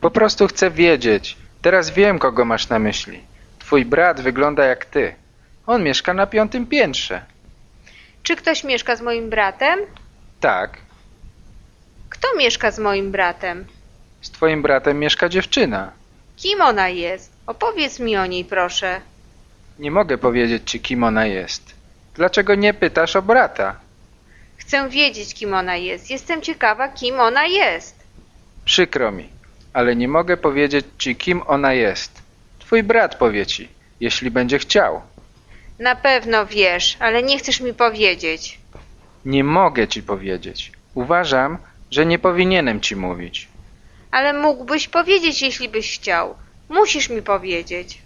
Po prostu chcę wiedzieć. Teraz wiem, kogo masz na myśli. Twój brat wygląda jak ty. On mieszka na piątym piętrze. Czy ktoś mieszka z moim bratem? Tak, Kto mieszka z moim bratem? z twoim bratem mieszka dziewczyna. Kim ona jest? Opowiedz mi o niej, proszę. Nie mogę powiedzieć ci, kim ona jest. Dlaczego nie pytasz o brata? Chcę wiedzieć, kim ona jest. Jestem ciekawa, kim ona jest. Przykro mi, ale nie mogę powiedzieć ci, kim ona jest. Twój brat powie ci, jeśli będzie chciał. Na pewno wiesz, ale nie chcesz mi powiedzieć. Nie mogę ci powiedzieć. Uważam, że nie powinienem ci mówić. Ale mógłbyś powiedzieć, jeśli byś chciał. Musisz mi powiedzieć.